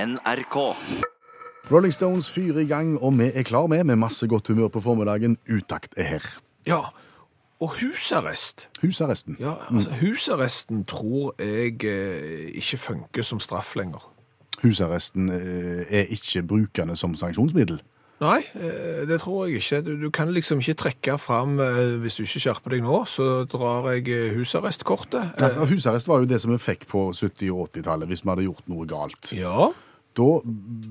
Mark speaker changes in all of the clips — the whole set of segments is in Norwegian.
Speaker 1: NRK.
Speaker 2: Rolling Stones fyrer i gang, og vi er klar med, med masse godt humør på formiddagen. Utakt er her.
Speaker 3: Ja, og husarrest.
Speaker 2: Husarresten.
Speaker 3: Ja, altså Husarresten tror jeg eh, ikke funker som straff lenger.
Speaker 2: Husarresten eh, er ikke brukende som sanksjonsmiddel.
Speaker 3: Nei, eh, det tror jeg ikke. Du, du kan liksom ikke trekke fram eh, Hvis du ikke skjerper deg nå, så drar jeg eh, husarrestkortet. Eh,
Speaker 2: Altså, husarrest var jo det som vi fikk på 70- og 80-tallet hvis vi hadde gjort noe galt.
Speaker 3: Ja.
Speaker 2: Da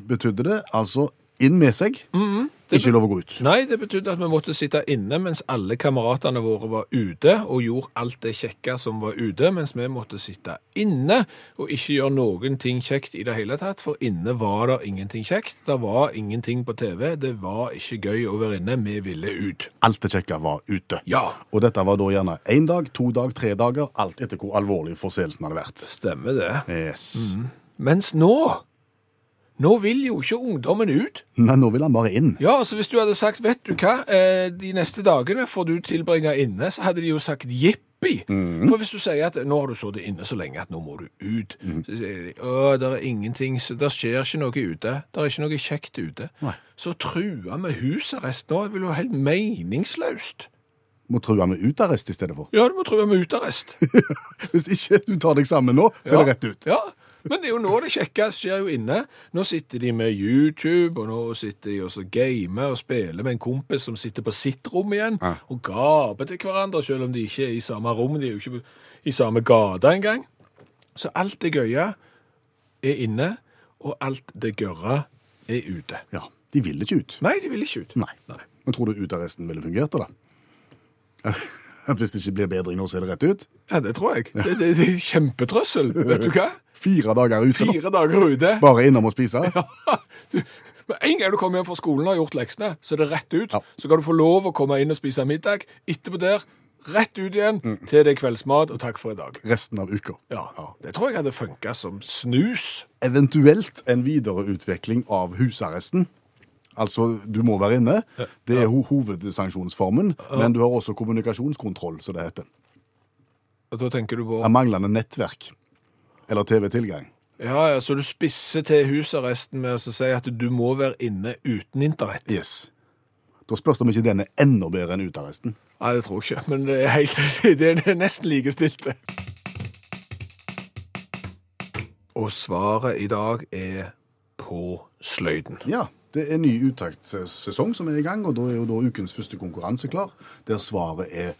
Speaker 2: betydde det altså inn med seg,
Speaker 3: Mm-hmm.
Speaker 2: ikke lov å gå ut.
Speaker 3: Nei, det betydde at vi måtte sitte inne mens alle kameratene våre var ute, og gjorde alt det kjekke som var ute, mens vi måtte sitte inne og ikke gjøre noen ting kjekt i det hele tatt, for inne var det ingenting kjekt. Det var ingenting på TV, det var ikke gøy å være inne, vi ville ut.
Speaker 2: Alt det kjekke var ute.
Speaker 3: Ja,
Speaker 2: Og dette var da gjerne én dag, to dag, tre dager, alt etter hvor alvorlig forseelsen hadde vært.
Speaker 3: stemmer det.
Speaker 2: Yes.
Speaker 3: Mm-hmm. Mens nå, nå vil jo ikke ungdommen ut.
Speaker 2: Nei, nå vil han bare inn.
Speaker 3: Ja, altså hvis du hadde sagt, vet du hva, eh, de neste dagene får du tilbringe inne, så hadde de jo sagt jippi. For hvis du sier at nå har du sittet inne så lenge at nå må du ut, så sier de å, det er ingenting, så det skjer ikke noe ute, det er ikke noe kjekt ute.
Speaker 2: Nei.
Speaker 3: Så trua med husarrest nå, det vil jo være helt meningsløst.
Speaker 2: Må true med utarrest i stedet for.
Speaker 3: Ja, du må trua med utarrest.
Speaker 2: Hvis ikke du tar deg sammen nå, så er det rett ut.
Speaker 3: Ja, men det er jo nå det kjekke skjer jo inne. Nå sitter de med YouTube, og nå sitter de også gamer og spiller med en kompis som sitter på sitt rom igjen,
Speaker 2: Ja.
Speaker 3: og gaper til hverandre, selv om de ikke er i samme rom, de er jo ikke i samme gata engang. Så alt det gøye er inne, og alt det gørre er ute.
Speaker 2: Ja, De vil ikke ut.
Speaker 3: Nei, de vil ikke ut.
Speaker 2: Nei. Men tror du utarresten ville fungert da? da? Hvis det ikke blir bedring nå, så er det rett ut?
Speaker 3: Ja, det tror jeg. Det, det, det er kjempetrøssel, vet du hva?
Speaker 2: Fire dager ute, da.
Speaker 3: Fire dager ute.
Speaker 2: bare innom og spise?
Speaker 3: Du, med en gang du kommer hjem fra skolen og har gjort leksene, så er det rett ut.
Speaker 2: Ja.
Speaker 3: Så kan du få lov å komme inn og spise middag. Etterpå der, rett ut igjen til det er kveldsmat, og takk for i dag.
Speaker 2: Resten av uka.
Speaker 3: Ja, Det tror jeg hadde funka som snus.
Speaker 2: Eventuelt en videreutvikling av husarresten. Altså, du må være inne. Det er ho hovedsanksjonsformen. Men du har også kommunikasjonskontroll, som det heter.
Speaker 3: Og da tenker du på
Speaker 2: Av manglende nettverk. Eller TV-tilgang.
Speaker 3: Ja, ja, Så du spisser til husarresten med å si at du må være inne uten internett?
Speaker 2: Yes. Da spørs det om ikke den er enda bedre enn utarresten.
Speaker 3: Nei, det tror jeg ikke. Men det er, helt, det er- det er nesten likestilt. Og svaret i dag er på sløyden.
Speaker 2: Ja, det er ny uttaktsesong som er i gang, og da er jo da ukens første konkurranse klar, der svaret er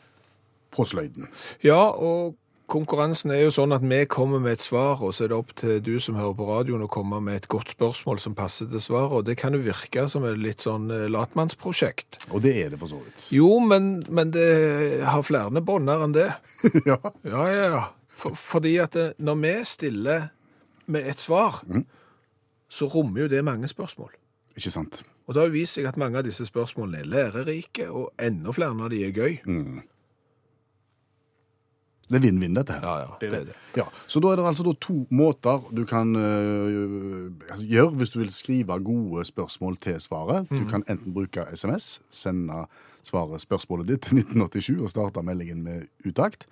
Speaker 2: på sløyden.
Speaker 3: Ja, og konkurransen er jo sånn at vi kommer med et svar, og så er det opp til du som hører på radioen å komme med et godt spørsmål som passer til svaret, og det kan jo virke som et litt sånn eh, latmannsprosjekt.
Speaker 2: Og det er det for så vidt.
Speaker 3: Jo, men, men det har flere bånder enn det.
Speaker 2: ja.
Speaker 3: Ja, ja, ja. For, fordi at eh, når vi stiller med et svar, så rommer jo det mange spørsmål.
Speaker 2: Ikke sant?
Speaker 3: Og det har jo vist seg at mange av disse spørsmålene er lærerike, og enda flere av de er gøy.
Speaker 2: Det er vinn-vinn, dette her.
Speaker 3: Ja, ja, det er det.
Speaker 2: Ja, Så da er det altså da to måter du kan øh, altså, gjøre hvis du vil skrive gode spørsmål til svaret.
Speaker 3: Mhm.
Speaker 2: Du kan enten bruke SMS, sende svaret spørsmålet ditt til 1987 og starte meldingen med utakt.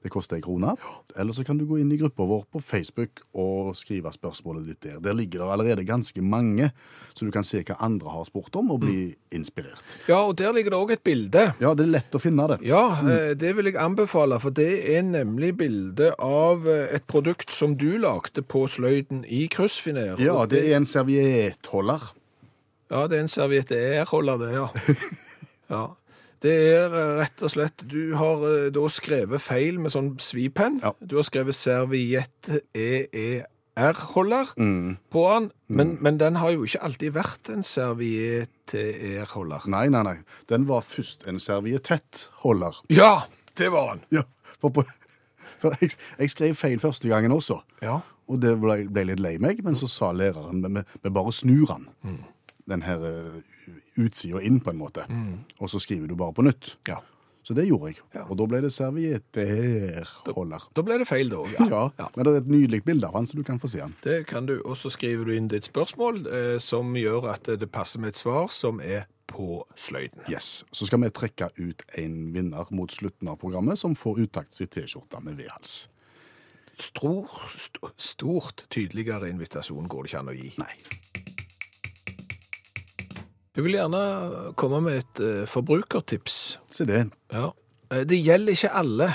Speaker 2: Det koster en krone. Eller så kan du gå inn i gruppa vår på Facebook og skrive spørsmålet ditt der. Der ligger det allerede ganske mange, så du kan se hva andre har spurt om, og bli
Speaker 3: Mm.
Speaker 2: inspirert.
Speaker 3: Ja, og der ligger det òg et bilde.
Speaker 2: Ja, det er lett å finne det.
Speaker 3: Ja, eh, det vil jeg anbefale, for det er nemlig bilde av eh, et produkt som du lagde på sløyden i kryssfiner.
Speaker 2: Ja,
Speaker 3: Og
Speaker 2: det er en serviettholder.
Speaker 3: ja, det er en serviette jeg holder det, ja. ja. Det er eh, rett og slett, du har eh, da skrevet feil med sånn svipenn.
Speaker 2: Ja.
Speaker 3: Du har skrevet serviette EER-holder på den, men, men den har jo ikke alltid vært en serviette EER-holder.
Speaker 2: Nei, nei, nei. Den var først en serviettettholder.
Speaker 3: Ja, det var den.
Speaker 2: Ja, for på, for jeg, jeg skrev feil første gangen også,
Speaker 3: Ja.
Speaker 2: og det ble, ble litt lei meg, men så sa læreren, men vi- vi bare snur den, den her eh, utsida inn på en måte, og så skriver du bare på nytt.
Speaker 3: Ja.
Speaker 2: Så det gjorde jeg,
Speaker 3: Ja.
Speaker 2: og da ble det servietterholder.
Speaker 3: Da ble det feil da.
Speaker 2: Ja. men det er et nydelig bilde av han, så du kan få se han.
Speaker 3: Det kan du, og så skriver du inn ditt spørsmål, eh, som gjør at det passer med et svar som er på sløyden.
Speaker 2: Yes, så skal vi trekke ut en vinner mot slutten av programmet, som får uttakt sitt t-skjorta med V-hals.
Speaker 3: stor, st- stort tydeligere invitasjon går det ikke an å gi.
Speaker 2: Nei.
Speaker 3: Jeg vil gjerne komme med et eh, forbrukertips.
Speaker 2: Se det.
Speaker 3: Ja. Eh, Det gjelder ikke alle.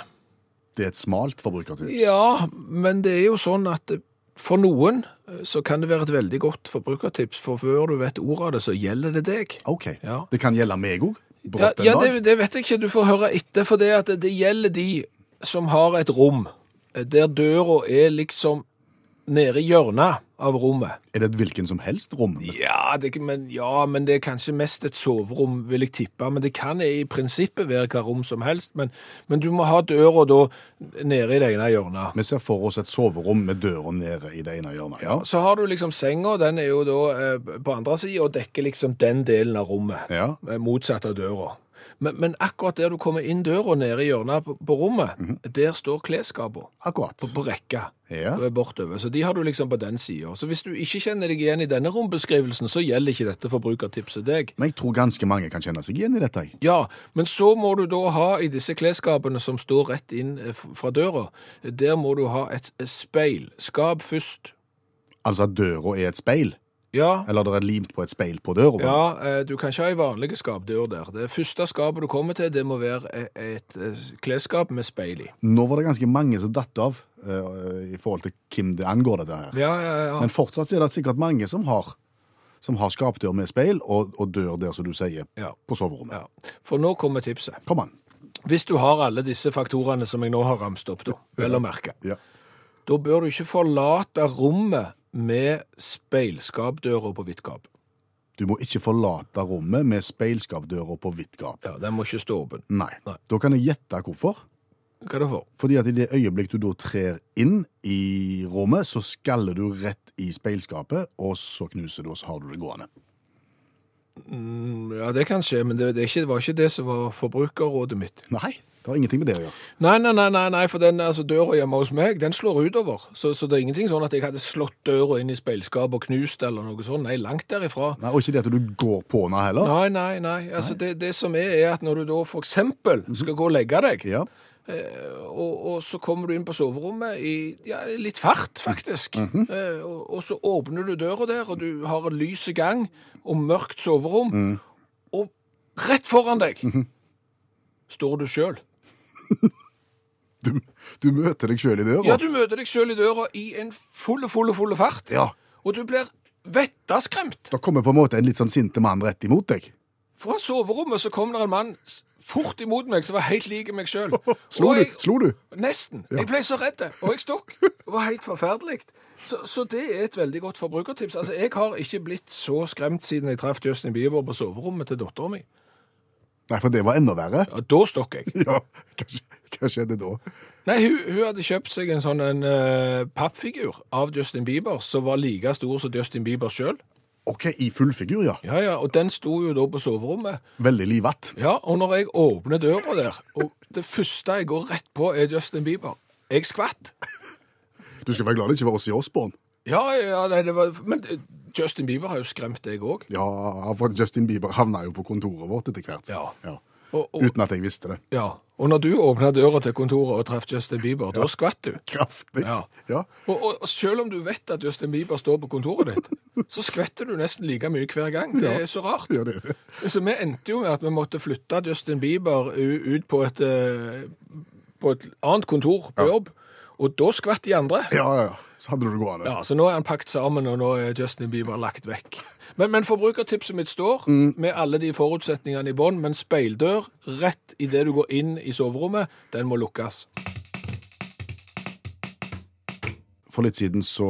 Speaker 2: Det er et smalt forbrukertips.
Speaker 3: Ja, men det er jo sånn at eh, for noen eh, så kan det være et veldig godt forbrukertips, for før du vet ordet av det, så gjelder det deg.
Speaker 2: OK.
Speaker 3: Ja.
Speaker 2: Det kan gjelde meg òg.
Speaker 3: Ja,
Speaker 2: Brått en
Speaker 3: ja
Speaker 2: dag.
Speaker 3: det, det vet jeg ikke. Du får høre etter, for det, at det gjelder de som har et rom eh, der døra er liksom nede i hjørnet av rommet.
Speaker 2: Er det et hvilken som helst rom?
Speaker 3: Ja, det, men, ja, men det er kanskje mest et soverom, vil jeg tippe. Men det kan i prinsippet være hva rom som helst. Men, men du må ha døra da nede i det ene hjørnet.
Speaker 2: Vi ser for oss et soverom med døra nede i det ene hjørnet. Ja.
Speaker 3: Så har du liksom senga, den er jo da eh, på andre sida og dekker liksom den delen av rommet.
Speaker 2: ja.
Speaker 3: Eh, Motsatt av døra. Men, men akkurat der du kommer inn døra, nede i hjørnet på, på rommet, der står klesskapene.
Speaker 2: Akkurat.
Speaker 3: På rekka.
Speaker 2: Ja.
Speaker 3: Og er Bortover. Så de har du liksom på den sida. Så hvis du ikke kjenner deg igjen i denne rombeskrivelsen, så gjelder ikke dette forbrukertipset deg.
Speaker 2: Men jeg tror ganske mange kan kjenne seg igjen i dette. jeg.
Speaker 3: Ja, men så må du da ha i disse klesskapene som står rett inn eh, f- fra døra, der må du ha et speilskap først.
Speaker 2: Altså at døra er et speil,
Speaker 3: Ja,
Speaker 2: eller det er limt på et speil på døra.
Speaker 3: ja eh, du kan ikke ha ei vanlig skapdør der. Det første skapet du kommer til, det må være e- et eh, klesskap med speil i.
Speaker 2: Nå var det ganske mange som datt av eh, i forhold til hvem det angår, dette her.
Speaker 3: Ja, ja, ja.
Speaker 2: Men fortsatt så er det sikkert mange som har, som har skapdør med speil, og, og dør der, som du sier,
Speaker 3: Ja.
Speaker 2: på soverommet.
Speaker 3: ja. For nå kommer tipset.
Speaker 2: Kom an.
Speaker 3: Hvis du har alle disse faktorene som jeg nå har ramst opp, da, vel å merke,
Speaker 2: Ja.
Speaker 3: da bør du ikke forlate rommet med speilskapdøra på vidt gap.
Speaker 2: Du må ikke forlate rommet med speilskapdøra på vidt gap.
Speaker 3: Ja, den må ikke stå åpen.
Speaker 2: Nei.
Speaker 3: Nei.
Speaker 2: Da kan jeg gjette hvorfor.
Speaker 3: Hva er det for?
Speaker 2: Fordi at i det øyeblikk du da trer inn i rommet, så skaller du rett i speilskapet, og så knuser du, og så har du det gående.
Speaker 3: Mm, Ja, det kan skje, men det, det er ikke, var ikke det som var forbrukerrådet mitt.
Speaker 2: Nei, det har ingenting med det å gjøre.
Speaker 3: Nei, nei, nei, nei, nei for den altså, døra hjemme hos meg, den slår utover. Så, så det er ingenting sånn at jeg hadde slått døra inn i speilskapet og knust eller noe sånt. Nei, langt derifra.
Speaker 2: Nei, og ikke det at du går på den heller.
Speaker 3: Nei, nei, nei. Altså, det, det som er, er at når du da for eksempel
Speaker 2: Mhm.
Speaker 3: skal gå og legge deg,
Speaker 2: Ja.
Speaker 3: og, og så kommer du inn på soverommet i ja, litt fart, faktisk.
Speaker 2: Mhm.
Speaker 3: eh, og, og så åpner du døra der, og du har en lyse gang og mørkt soverom.
Speaker 2: Mhm.
Speaker 3: Og rett foran deg står du sjøl.
Speaker 2: Du, du møter deg sjøl i døra.
Speaker 3: Ja, du møter deg sjøl i døra i en fulle, fulle, fulle fart.
Speaker 2: Ja.
Speaker 3: Og du blir vettaskremt.
Speaker 2: Da kommer på en måte en litt sånn sinte mann rett imot deg.
Speaker 3: Fra soverommet så kom det en mann s- fort imot meg som var helt lik meg sjøl.
Speaker 2: Slo du? Slo du?
Speaker 3: Nesten. Jeg ble så redd, og jeg stokk. Det var helt forferdelig. Så, så det er et veldig godt forbrukertips. Altså, Jeg har ikke blitt så skremt siden jeg traff Justin Bieber på soverommet til dattera mi.
Speaker 2: Nei, for det var enda verre.
Speaker 3: Ja, da stokk jeg.
Speaker 2: Ja, hva skj- hva skjedde da?
Speaker 3: Nei, hun, hun hadde kjøpt seg en sånn en, eh, pappfigur av Justin Bieber som var like stor som Justin Bieber sjøl.
Speaker 2: OK, i fullfigur, ja.
Speaker 3: Ja, ja, og den sto jo da på soverommet.
Speaker 2: Veldig livatt.
Speaker 3: Ja, og når jeg åpner døra der, og det første jeg går rett på, er Justin Bieber. Jeg skvatt.
Speaker 2: Du skal være glad det ikke var oss i Osborn.
Speaker 3: Ja, ja, nei, det var Men eh, Justin Bieber har jo skremt deg òg.
Speaker 2: Ja, for Justin Bieber havna jo på kontoret vårt etter hvert.
Speaker 3: Ja.
Speaker 2: ja.
Speaker 3: Og, og,
Speaker 2: Uten at jeg visste det.
Speaker 3: ja. og når du åpna døra til kontoret og traff Justin Bieber, da skvatt du.
Speaker 2: Kraftig.
Speaker 3: Ja.
Speaker 2: ja.
Speaker 3: Og, og og selv om du vet at Justin Bieber står på kontoret ditt, så skvetter du nesten like mye hver gang. Det er så rart.
Speaker 2: Ja, det er det.
Speaker 3: Så vi endte jo med at vi måtte flytte Justin Bieber u- ut på et, eh, på et annet kontor på jobb, og da skvatt de andre.
Speaker 2: Ja, ja, ja. Så hadde du det gående.
Speaker 3: Ja, Så nå er han pakket sammen, og nå er Justin Bieber lagt vekk. Men, men forbrukertipset mitt står,
Speaker 2: Mm.
Speaker 3: med alle de forutsetningene i bånn, men speildør rett idet du går inn i soverommet, den må lukkes.
Speaker 2: For litt siden så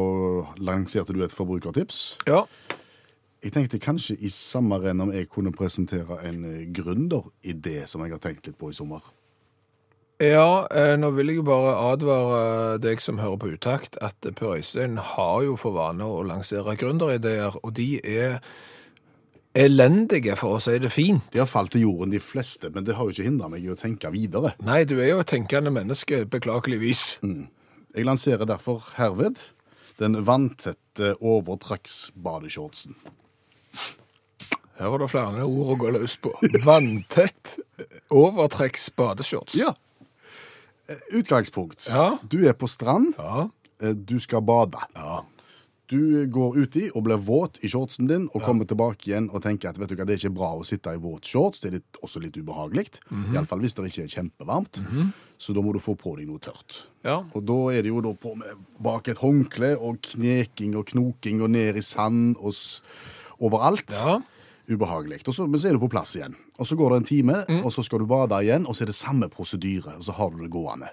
Speaker 2: lanserte du et forbrukertips.
Speaker 3: Ja.
Speaker 2: Jeg tenkte kanskje i samme renn om jeg kunne presentere en eh, gründeridé som jeg har tenkt litt på i sommer.
Speaker 3: Ja, eh, nå vil jeg jo bare advare deg som hører på utakt, at Per Øystein har jo for vane å lansere gründerideer, og de er elendige, for å si det fint.
Speaker 2: Det har falt til jorden, de fleste, men det har jo ikke hindra meg i å tenke videre.
Speaker 3: Nei, du er jo et tenkende menneske, beklageligvis.
Speaker 2: Jeg lanserer derfor herved den vanntette overtrakksbadeshortsen.
Speaker 3: Her var det flere ord å gå løs på. Vanntett overtrekks badeshorts.
Speaker 2: Ja. Eh, Utgangspunkt.
Speaker 3: Ja.
Speaker 2: Du er på strand,
Speaker 3: Ja.
Speaker 2: eh, du skal bade.
Speaker 3: ja.
Speaker 2: Du går uti og blir våt i shortsen din, og kommer tilbake igjen og tenker at vet du hva, det er ikke bra å sitte i våt shorts. Det er litt, også litt ubehagelig.
Speaker 3: Mhm.
Speaker 2: Iallfall hvis det ikke er kjempevarmt. Så da må du få på deg noe tørt.
Speaker 3: Ja.
Speaker 2: Og da er det jo da på med bak et håndkle og kneking og knoking og ned i sand og s overalt.
Speaker 3: Ja.
Speaker 2: Ubehagelig. Og så, men så er du på plass igjen. Og så går det en time, og så skal du bade igjen, og så er det samme prosedyre, og så har du det gående.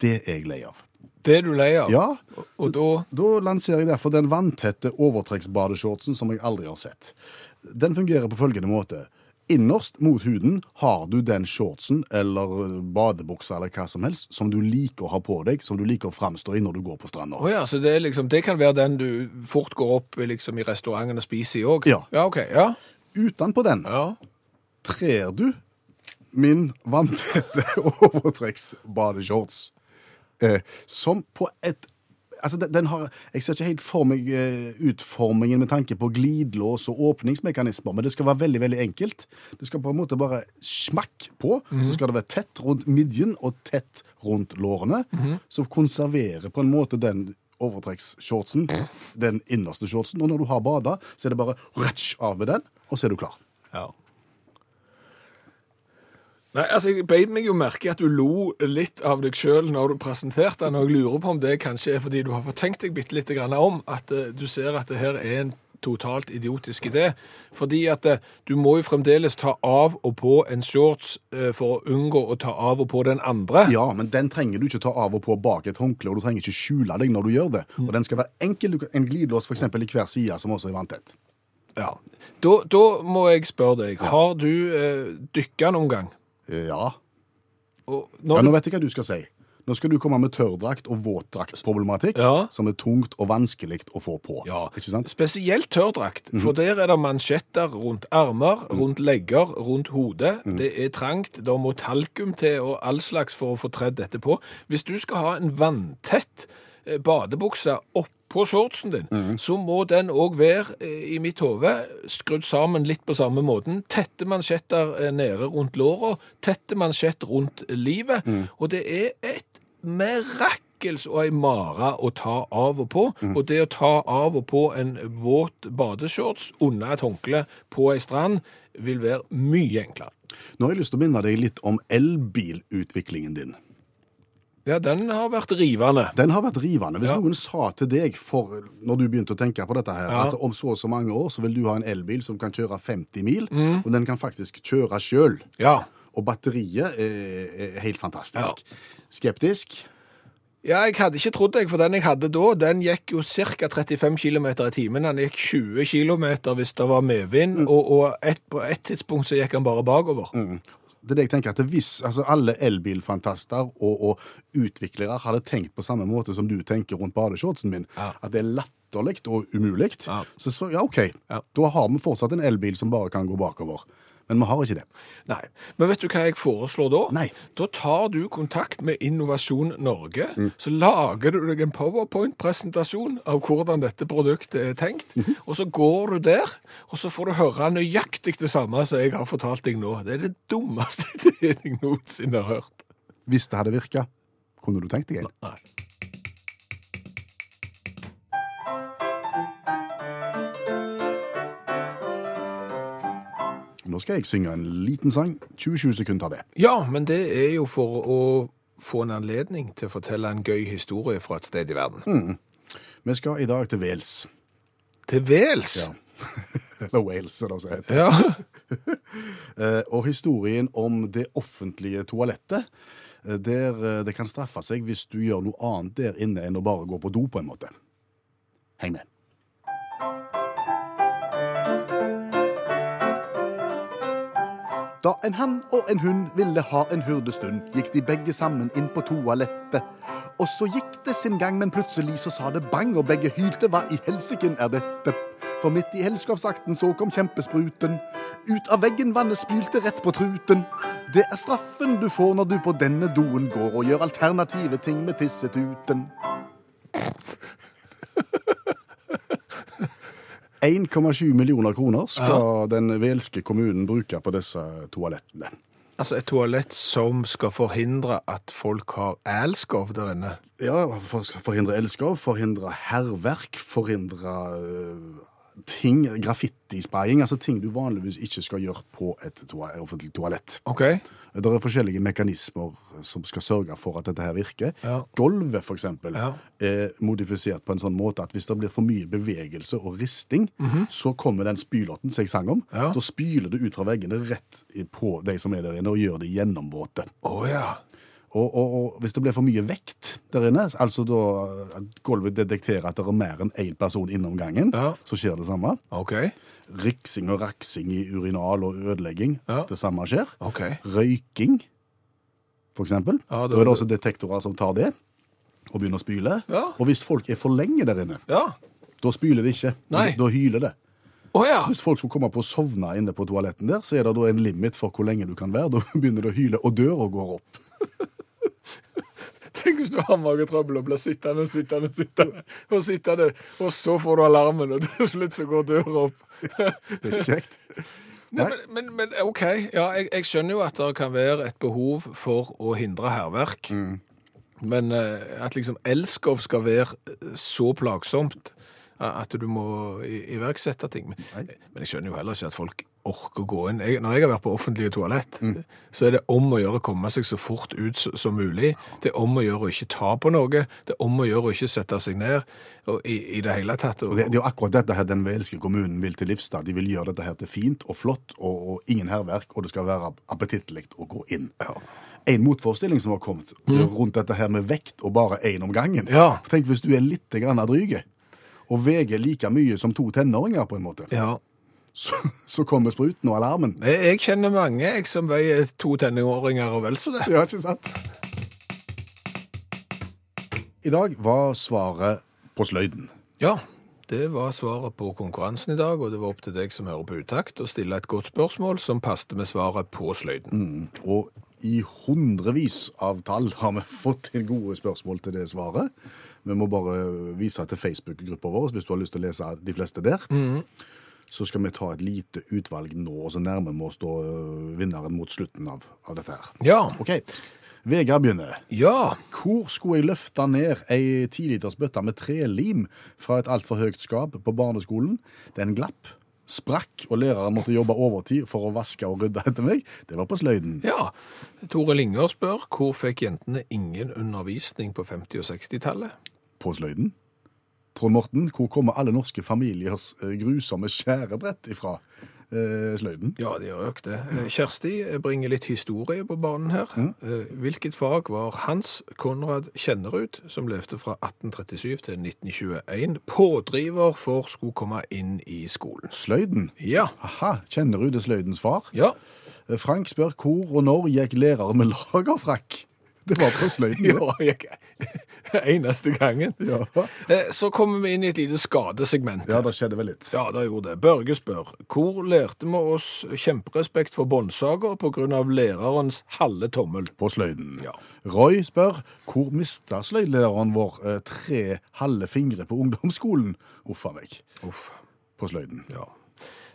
Speaker 2: Det er jeg lei av.
Speaker 3: Det er du lei av.
Speaker 2: Ja.
Speaker 3: Og, og da
Speaker 2: Da lanserer jeg derfor den vanntette overtrekksbadeshortsen som jeg aldri har sett. Den fungerer på følgende måte. Innerst mot huden har du den shortsen eller badebuksa eller hva som helst som du liker å ha på deg, som du liker å framstå i når du går på stranda.
Speaker 3: Å ja, så det, er liksom, det kan være den du fort går opp liksom, i restauranten og spiser i òg?
Speaker 2: Ja.
Speaker 3: ja. ok, ja.
Speaker 2: Utenpå den
Speaker 3: ja.
Speaker 2: trer du min vanntette overtrekksbadeshorts. Eh, som på et Altså, den, den har Jeg ser ikke helt for meg eh, utformingen med tanke på glidelås og åpningsmekanismer, men det skal være veldig veldig enkelt. Det skal på en måte bare smakk på, så skal det være tett rundt midjen og tett rundt lårene. Som konserverer på en måte den overtrekksshortsen, den innerste shortsen. Og når du har bada, så er det bare ratsch av med den, og så er du klar.
Speaker 3: ja. Nei, altså, Jeg beit meg jo merke i at du lo litt av deg sjøl når du presenterte den, og jeg lurer på om det kanskje er fordi du har fått tenkt deg bitte lite grann om at eh, du ser at det her er en totalt idiotisk idé. Fordi at eh, du må jo fremdeles ta av og på en shorts eh, for å unngå å ta av og på den andre.
Speaker 2: Ja, men den trenger du ikke ta av og på bak et håndkle, og du trenger ikke skjule deg når du gjør det. Og den skal være enkel. Du kan- En glidelås for eksempel i hver side, som også er vanntett.
Speaker 3: Ja. Da, da må jeg spørre deg, har du eh, dykka noen gang?
Speaker 2: Eh, Ja.
Speaker 3: Og
Speaker 2: ja.
Speaker 3: når
Speaker 2: Nå
Speaker 3: du,
Speaker 2: vet jeg hva du skal si. Nå skal du komme med tørrdrakt og våtdraktproblematikk,
Speaker 3: Ja.
Speaker 2: som er tungt og vanskelig å få på.
Speaker 3: ja,
Speaker 2: Ikke sant?
Speaker 3: spesielt tørrdrakt, for der er det mansjetter rundt armer, rundt legger, rundt hodet. Det er trangt, det må talkum til og all slags for å få tredd dette på. Hvis du skal ha en vanntett eh, badebukse oppå shortsen din, så må den òg være, eh, i mitt hode, skrudd sammen litt på samme måten. Tette mansjetter eh, nede rundt låra, tette mansjett rundt livet. Og det er et merakkels og ei mare å ta av og på. Og det å ta av og på en våt badeshorts under et håndkle på ei strand vil være mye enklere.
Speaker 2: Nå har jeg lyst til å minne deg litt om elbilutviklingen din.
Speaker 3: Ja, den har vært rivende.
Speaker 2: Den har vært rivende. Hvis
Speaker 3: Ja.
Speaker 2: noen sa til deg for, når du begynte å tenke på dette her,
Speaker 3: Ja.
Speaker 2: at om så og så mange år så vil du ha en elbil som kan kjøre 50 mil,
Speaker 3: Mm.
Speaker 2: og den kan faktisk kjøre sjøl.
Speaker 3: Ja.
Speaker 2: Og batteriet er, er helt fantastisk. Skeptisk?
Speaker 3: Ja, jeg hadde ikke trodd det, for den jeg hadde da, den gikk jo ca. 35 km i timen. Den gikk 20 km hvis det var medvind, og, og et, på et tidspunkt så gikk den bare bakover.
Speaker 2: Det er det jeg tenker at Hvis altså alle elbilfantaster og, og utviklere hadde tenkt på samme måte som du tenker rundt badeshortsen min,
Speaker 3: Ja.
Speaker 2: at det er latterlig og umulig,
Speaker 3: Ja.
Speaker 2: så, så ja, OK.
Speaker 3: Ja.
Speaker 2: Da har vi fortsatt en elbil som bare kan gå bakover. Men vi har ikke det.
Speaker 3: Nei. Men vet du hva jeg foreslår da?
Speaker 2: Nei.
Speaker 3: Da tar du kontakt med Innovasjon Norge, så lager du deg en powerpoint-presentasjon av hvordan dette produktet er tenkt, og så går du der, og så får du høre nøyaktig det samme som jeg har fortalt deg nå. Det er det dummeste ideen jeg noensinne har hørt.
Speaker 2: Hvis det hadde virka, kunne du tenkt deg en?
Speaker 3: Nei.
Speaker 2: Nå skal jeg synge en liten sang. 27 sekunder av det.
Speaker 3: Ja, men det er jo for å få en anledning til å fortelle en gøy historie fra et sted i verden.
Speaker 2: Vi skal i dag til Wales.
Speaker 3: Til Wales!
Speaker 2: Ja. Eller Wales, som det også heter.
Speaker 3: Ja.
Speaker 2: Eh, Og historien om det offentlige toalettet, eh, der eh, det kan straffe seg hvis du gjør noe annet der inne enn å bare gå på do, på en måte. Heng med. Da en hann og en hund ville ha en hurdestund, gikk de begge sammen inn på toalettet. Og så gikk det sin gang, men plutselig så sa det bang, og begge hylte, hva i helsiken er dette? For midt i helskapsakten så kom kjempespruten. Ut av veggen vannet spylte rett på truten. Det er straffen du får når du på denne doen går og gjør alternative ting med tissetuten. 1,7 millioner kroner skal den velske kommunen bruke på disse toalettene.
Speaker 3: Altså et toalett som skal forhindre at folk har elskov der inne.
Speaker 2: Ja, for, forhindre elskov, forhindre hærverk, forhindre øh, ting, graffiti-spraying, altså ting du vanligvis ikke skal gjøre på et toa- offentlig toalett.
Speaker 3: Ok.
Speaker 2: Det er forskjellige mekanismer som skal sørge for at dette her virker.
Speaker 3: Ja.
Speaker 2: Gulvet, for eksempel,
Speaker 3: Ja.
Speaker 2: er modifisert på en sånn måte at hvis det blir for mye bevegelse og risting, så kommer den spylotten som jeg sang om.
Speaker 3: Mhm. Ja.
Speaker 2: Da spyler det ut fra veggene rett i- på de som er der inne, og gjør de gjennomvåte.
Speaker 3: Å ja.
Speaker 2: Og, og, og hvis det blir for mye vekt der inne, altså da at gulvet detekterer at det er mer enn én person innom gangen,
Speaker 3: Ja.
Speaker 2: så skjer det samme.
Speaker 3: Ok.
Speaker 2: Riksing og raksing i urinal og ødelegging,
Speaker 3: Ja.
Speaker 2: det samme skjer.
Speaker 3: Ok.
Speaker 2: Røyking, for eksempel.
Speaker 3: Ja, det-
Speaker 2: da er det også detektorer som tar det og begynner å spyle.
Speaker 3: Ja.
Speaker 2: Og hvis folk er for lenge der inne,
Speaker 3: Ja.
Speaker 2: da spyler de ikke.
Speaker 3: Nei.
Speaker 2: Da hyler det.
Speaker 3: Å ja.
Speaker 2: Så hvis folk skulle komme på å sovne inne på toaletten der, så er det da en limit for hvor lenge du kan være. Da begynner det å hyle, og døra går opp.
Speaker 3: Tenk hvis du har magetrøbbel og blir sittende og sittende, og sittende og sittende, og så får du alarmen, og til slutt så går døra opp.
Speaker 2: Det er ikke kjekt. Nei.
Speaker 3: Nei, men, men, men OK. Ja, jeg, jeg skjønner jo at det kan være et behov for å hindre hærverk.
Speaker 2: Mm.
Speaker 3: Men eh, at liksom elskov skal være eh, så plagsomt eh, at du må i- iverksette ting. Men,
Speaker 2: Nei.
Speaker 3: men jeg skjønner jo heller ikke at folk orker å gå inn. Jeg, når jeg har vært på offentlige toalett,
Speaker 2: Mm.
Speaker 3: så er det om å gjøre å komme seg så fort ut s- som mulig. Det er om å gjøre å ikke ta på noe. Det er om å gjøre å ikke sette seg ned og, i, i det hele tatt.
Speaker 2: Og Det, det er jo akkurat dette her den velske kommunen vil til livs. da. De vil gjøre dette her til fint og flott, og, og ingen hærverk, og det skal være appetittlig å gå inn.
Speaker 3: Ja. Mm.
Speaker 2: En motforestilling som har kommet det er rundt dette her med vekt og bare én om gangen.
Speaker 3: Ja.
Speaker 2: Tenk hvis du er litt grann dryg og veier like mye som to tenåringer, på en måte.
Speaker 3: ja.
Speaker 2: Så, så kommer spruten og alarmen.
Speaker 3: Jeg, jeg kjenner mange jeg, som veier to tenåringer og vel så det.
Speaker 2: Ja, ikke sant? I dag var svaret på sløyden.
Speaker 3: Ja, det var svaret på konkurransen i dag, og det var opp til deg som hører på utakt å stille et godt spørsmål som passet med svaret på sløyden.
Speaker 2: Og i hundrevis av tall har vi fått inn gode spørsmål til det svaret. Vi må bare vise til Facebook-gruppa vår hvis du har lyst til å lese de fleste der. Så skal vi ta et lite utvalg nå, og så nærmer vi oss da øh, vinneren mot slutten av, av dette her.
Speaker 3: Ja.
Speaker 2: OK. Vegard begynner.
Speaker 3: Ja.
Speaker 2: Hvor skulle jeg løfte ned ei tiliters bøtte med trelim fra et altfor høyt skap på barneskolen? Den glapp, sprakk, og læreren måtte jobbe overtid for å vaske og rydde etter meg. Det var på sløyden.
Speaker 3: ja. Tore Linger spør hvor fikk jentene ingen undervisning på 50- og 60-tallet?
Speaker 2: på sløyden. Trond Morten, hvor kommer alle norske familiers eh, grusomme skjærebrett ifra? Eh, sløyden.
Speaker 3: Ja, de har økt det. Eh, Kjersti bringer litt historie på banen her. Eh, Hvilket fag var Hans Konrad Kjennerud, som levde fra 1837 til 1921, pådriver for skulle komme inn i skolen?
Speaker 2: Sløyden?
Speaker 3: Ja.
Speaker 2: Aha, kjenner du det sløydens far?
Speaker 3: Ja.
Speaker 2: Eh, Frank spør hvor og når gikk lærer med lagerfrakk? Det var på sløyden. det.
Speaker 3: Ja, jeg, eneste gangen.
Speaker 2: Ja.
Speaker 3: Eh, Så kommer vi inn i et lite skadesegment.
Speaker 2: ja, det skjedde vel litt.
Speaker 3: Ja, da gjorde det. Børge spør hvor lærte vi oss kjemperespekt for båndsager pga. lærerens halve tommel?
Speaker 2: På sløyden.
Speaker 3: Ja.
Speaker 2: Roy spør hvor mista sløydlæreren vår eh, tre halve fingre på ungdomsskolen? Uff a meg.
Speaker 3: Uff,
Speaker 2: På sløyden.
Speaker 3: ja.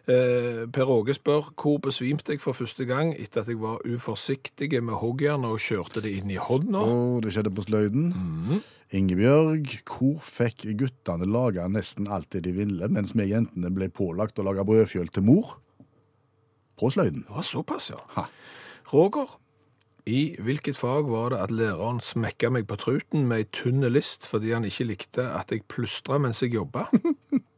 Speaker 3: Eh, per Åge spør hvor besvimte jeg for første gang etter at jeg var uforsiktig med hoggjernet og kjørte det inn i hånda?
Speaker 2: Og det skjedde på sløyden. Ingebjørg, hvor fikk guttene lage nesten alt det de ville, mens vi jentene ble pålagt å lage brødfjøl til mor? På sløyden.
Speaker 3: Det var såpass, ja.
Speaker 2: Ha.
Speaker 3: Roger, i hvilket fag var det at læreren smekka meg på truten med ei tynn list fordi han ikke likte at jeg plystra mens jeg jobba?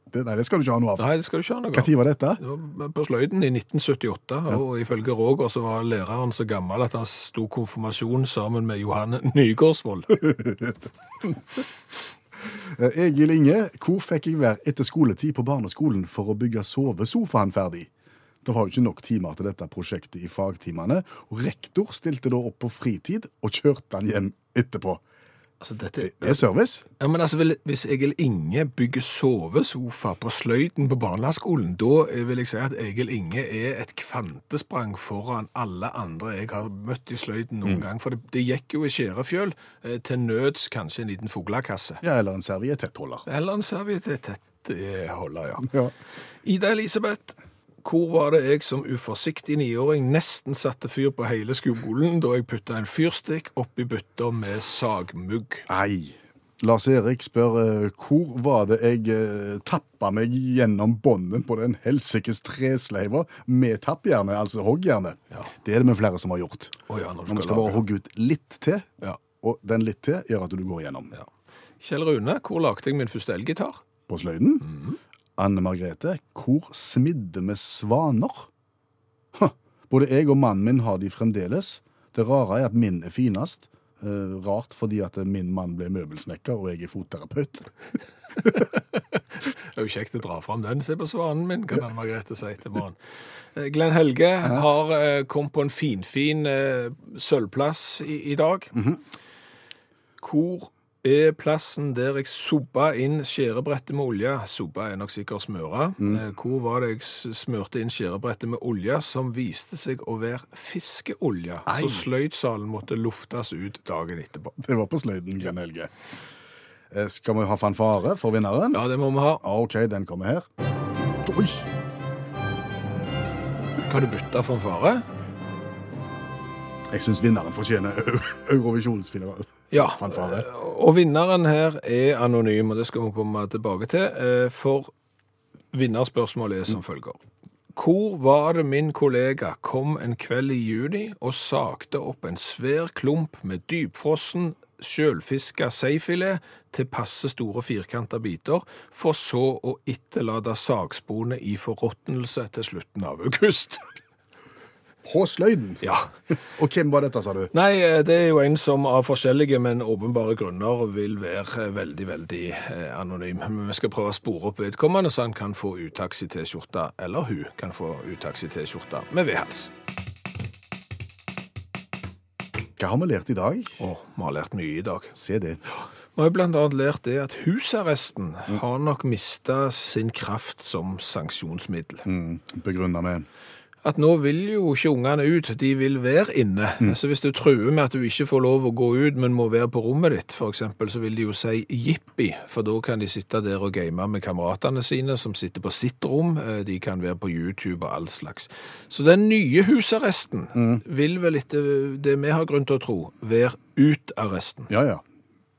Speaker 2: Det, nei, det skal du ikke ha noe av.
Speaker 3: Nei, det skal du ikke ha noe av.
Speaker 2: Når var dette?
Speaker 3: Det var på sløyden i 1978, og ifølge Roger så var læreren så gammel at han sto konfirmasjon sammen med Johan Nygaardsvold.
Speaker 2: Eh, Egil Inge, hvor fikk jeg være etter skoletid på barneskolen for å bygge sovesofaen ferdig? Det var jo ikke nok timer til dette prosjektet i fagtimene, og rektor stilte da opp på fritid og kjørte han hjem etterpå.
Speaker 3: Altså, dette
Speaker 2: Det er service.
Speaker 3: Ja, men altså, vil- Hvis Egil Inge bygger sovesofa på sløyden på barneskolen, da eh, vil jeg si at Egil Inge er et kvantesprang foran alle andre jeg har møtt i sløyden noen gang. For det, det gikk jo i skjærefjøl, eh, til nøds kanskje en liten fuglekasse.
Speaker 2: Ja, eller en serviettettholder.
Speaker 3: Eller en serviett tett eh, holder, ja.
Speaker 2: Ja.
Speaker 3: Ida Elisabeth, Hvor var det jeg som uforsiktig niåring nesten satte fyr på hele skolen da jeg putta en fyrstikk oppi bytta med sagmugg?
Speaker 2: Nei. Lars Erik spør eh, hvor var det jeg eh, tappa meg gjennom bånden på den helsikes tresleiva med tappjerne, altså hoggjerne.
Speaker 3: Ja.
Speaker 2: Det er det med flere som har gjort.
Speaker 3: Å ja, når du
Speaker 2: Man
Speaker 3: skal
Speaker 2: skal bare
Speaker 3: lage.
Speaker 2: hogge ut litt til,
Speaker 3: Ja.
Speaker 2: og den litt til gjør at du går gjennom.
Speaker 3: Ja. Kjell Rune, hvor lagde jeg min første elgitar?
Speaker 2: På sløyden.
Speaker 3: Mhm.
Speaker 2: Anne Margrethe, hvor smidde vi svaner? Huh. Både jeg og mannen min har de fremdeles. Det rare er at min er finest. Eh, rart fordi at min mann ble møbelsnekker, og jeg er fotterapeut.
Speaker 3: Det er jo kjekt å dra fram den. Se på svanen min, kan Anne Margrethe si til morgen. Eh, Glenn Helge har eh, kom på en finfin eh, sølvplass i, i dag. Hvor er plassen der jeg sobba inn skjærebrettet med olje? Sobba er nok sikkert smøra. Eh, Hvor var det jeg s- smørte inn skjærebrettet med olje som viste seg å være fiskeolje?
Speaker 2: Ei.
Speaker 3: Så sløydsalen måtte luftes ut dagen etterpå.
Speaker 2: Det var på sløyden, Glenn Helge. Eh, Skal vi ha fanfare for vinneren?
Speaker 3: Ja, det må vi ha.
Speaker 2: OK, den kommer her. Oi!
Speaker 3: Kan du bytte fanfare?
Speaker 2: Jeg syns vinneren fortjener Eu- Eurovisjonsfinalen.
Speaker 3: Ja,
Speaker 2: Fanfare.
Speaker 3: og vinneren her er anonym, og det skal vi komme tilbake til. eh, For vinnerspørsmålet er som følger. Hvor var det min kollega kom en kveld i juni og sakte opp en svær klump med dypfrossen, sjølfiska seifilet til passe store firkanta biter, for så å etterlate sagsbonet i forråtnelse til slutten av august?
Speaker 2: På sløyden!
Speaker 3: Ja.
Speaker 2: Og hvem var dette, sa du?
Speaker 3: Nei, eh, det er jo en som av forskjellige, men åpenbare grunner vil være eh, veldig, veldig eh, anonym. Men vi skal prøve å spore opp vedkommende, så han kan få utakts i T-skjorta, eller hun kan få utakts i T-skjorta med vedhals.
Speaker 2: Hva har vi lært i dag?
Speaker 3: Å, vi har lært mye i dag.
Speaker 2: Se det.
Speaker 3: Vi har jo blant annet lært det at husarresten har nok mista sin kraft som sanksjonsmiddel.
Speaker 2: Mm, Begrunna med
Speaker 3: At nå vil jo ikke ungene ut, de vil være inne. Så hvis du truer med at du ikke får lov å gå ut, men må være på rommet ditt, for eksempel, så vil de jo si jippi, for da kan de sitte der og game med kameratene sine, som sitter på sitt rom, Eh, de kan være på YouTube og all slags. Så den nye husarresten vil vel etter det vi har grunn til å tro, være utarresten.
Speaker 2: Ja, ja.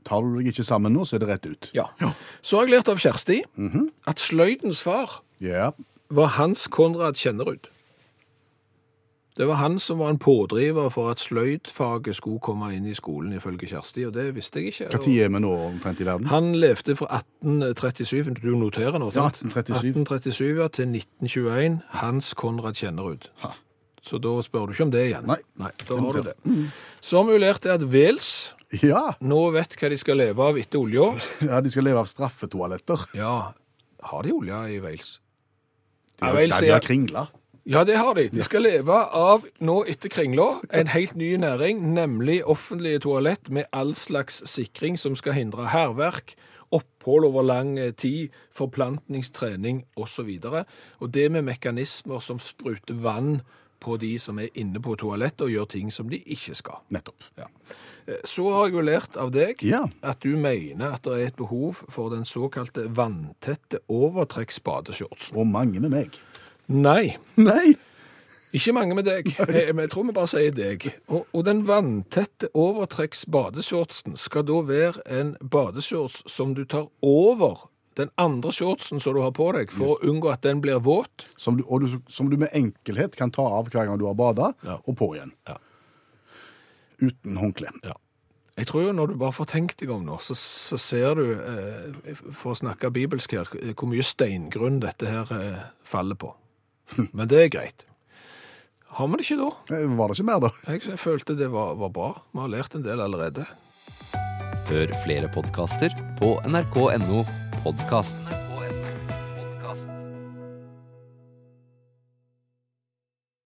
Speaker 2: Tar du deg ikke sammen nå, så er det rett ut.
Speaker 3: Ja. Så har jeg lært av Kjersti at sløydens far
Speaker 2: Ja.
Speaker 3: var Hans Konrad Kjennerud. Det var han som var en pådriver for at sløydfaget skulle komme inn i skolen, ifølge Kjersti, og det visste jeg ikke.
Speaker 2: Hva tid er vi nå omtrent i verden?
Speaker 3: Han levde fra 1837, du noterer nå,
Speaker 2: Ja,
Speaker 3: sant?
Speaker 2: 1837.
Speaker 3: 1837 ja, til 1921, Hans Konrad Kjennerud.
Speaker 2: Ha.
Speaker 3: Så da spør du ikke om det igjen.
Speaker 2: Nei.
Speaker 3: da har du det. Mm. Så har vi jo lært det at Wales
Speaker 2: Ja!
Speaker 3: nå vet hva de skal leve av etter olja.
Speaker 2: ja de skal leve av straffetoaletter.
Speaker 3: Ja, har de olja i Wales?
Speaker 2: De
Speaker 3: Ja,
Speaker 2: har,
Speaker 3: vel,
Speaker 2: de,
Speaker 3: sier-
Speaker 2: har kringla.
Speaker 3: Ja, det har de. De skal leve av, nå etter Kringla, en helt ny næring, nemlig offentlige toalett med all slags sikring som skal hindre hærverk, opphold over lang eh, tid, forplantningstrening osv. videre. og det med mekanismer som spruter vann på de som er inne på toalettet og gjør ting som de ikke skal.
Speaker 2: Nettopp.
Speaker 3: Ja. Eh, Så har jeg jo lært av deg
Speaker 2: Ja.
Speaker 3: at du mener at det er et behov for den såkalte vanntette overtrekksbadeshortsen.
Speaker 2: Og mange med meg.
Speaker 3: Nei.
Speaker 2: Nei!
Speaker 3: Ikke mange med deg. Eh, men Jeg tror vi bare sier deg. Og, og den vanntette overtrekks-badeshortsen skal da være en badeshorts som du tar over den andre shortsen som du har på deg, for å unngå at den blir våt.
Speaker 2: Som du, og du, som du med enkelhet kan ta av hver gang du har bada,
Speaker 3: Ja.
Speaker 2: og på igjen.
Speaker 3: Ja.
Speaker 2: Uten håndkle.
Speaker 3: Jeg tror jo når du bare får tenkt deg om nå, så, så ser du, eh, for å snakke bibelsk her, eh, hvor mye steingrunn dette her eh, faller på. Men det er greit. Har vi det ikke da?
Speaker 2: Eh, Var det ikke mer, da?
Speaker 3: Jeg, jeg følte det var, var bra. Vi har lært en del allerede.
Speaker 1: Hør flere podkaster på nrk.no podkast.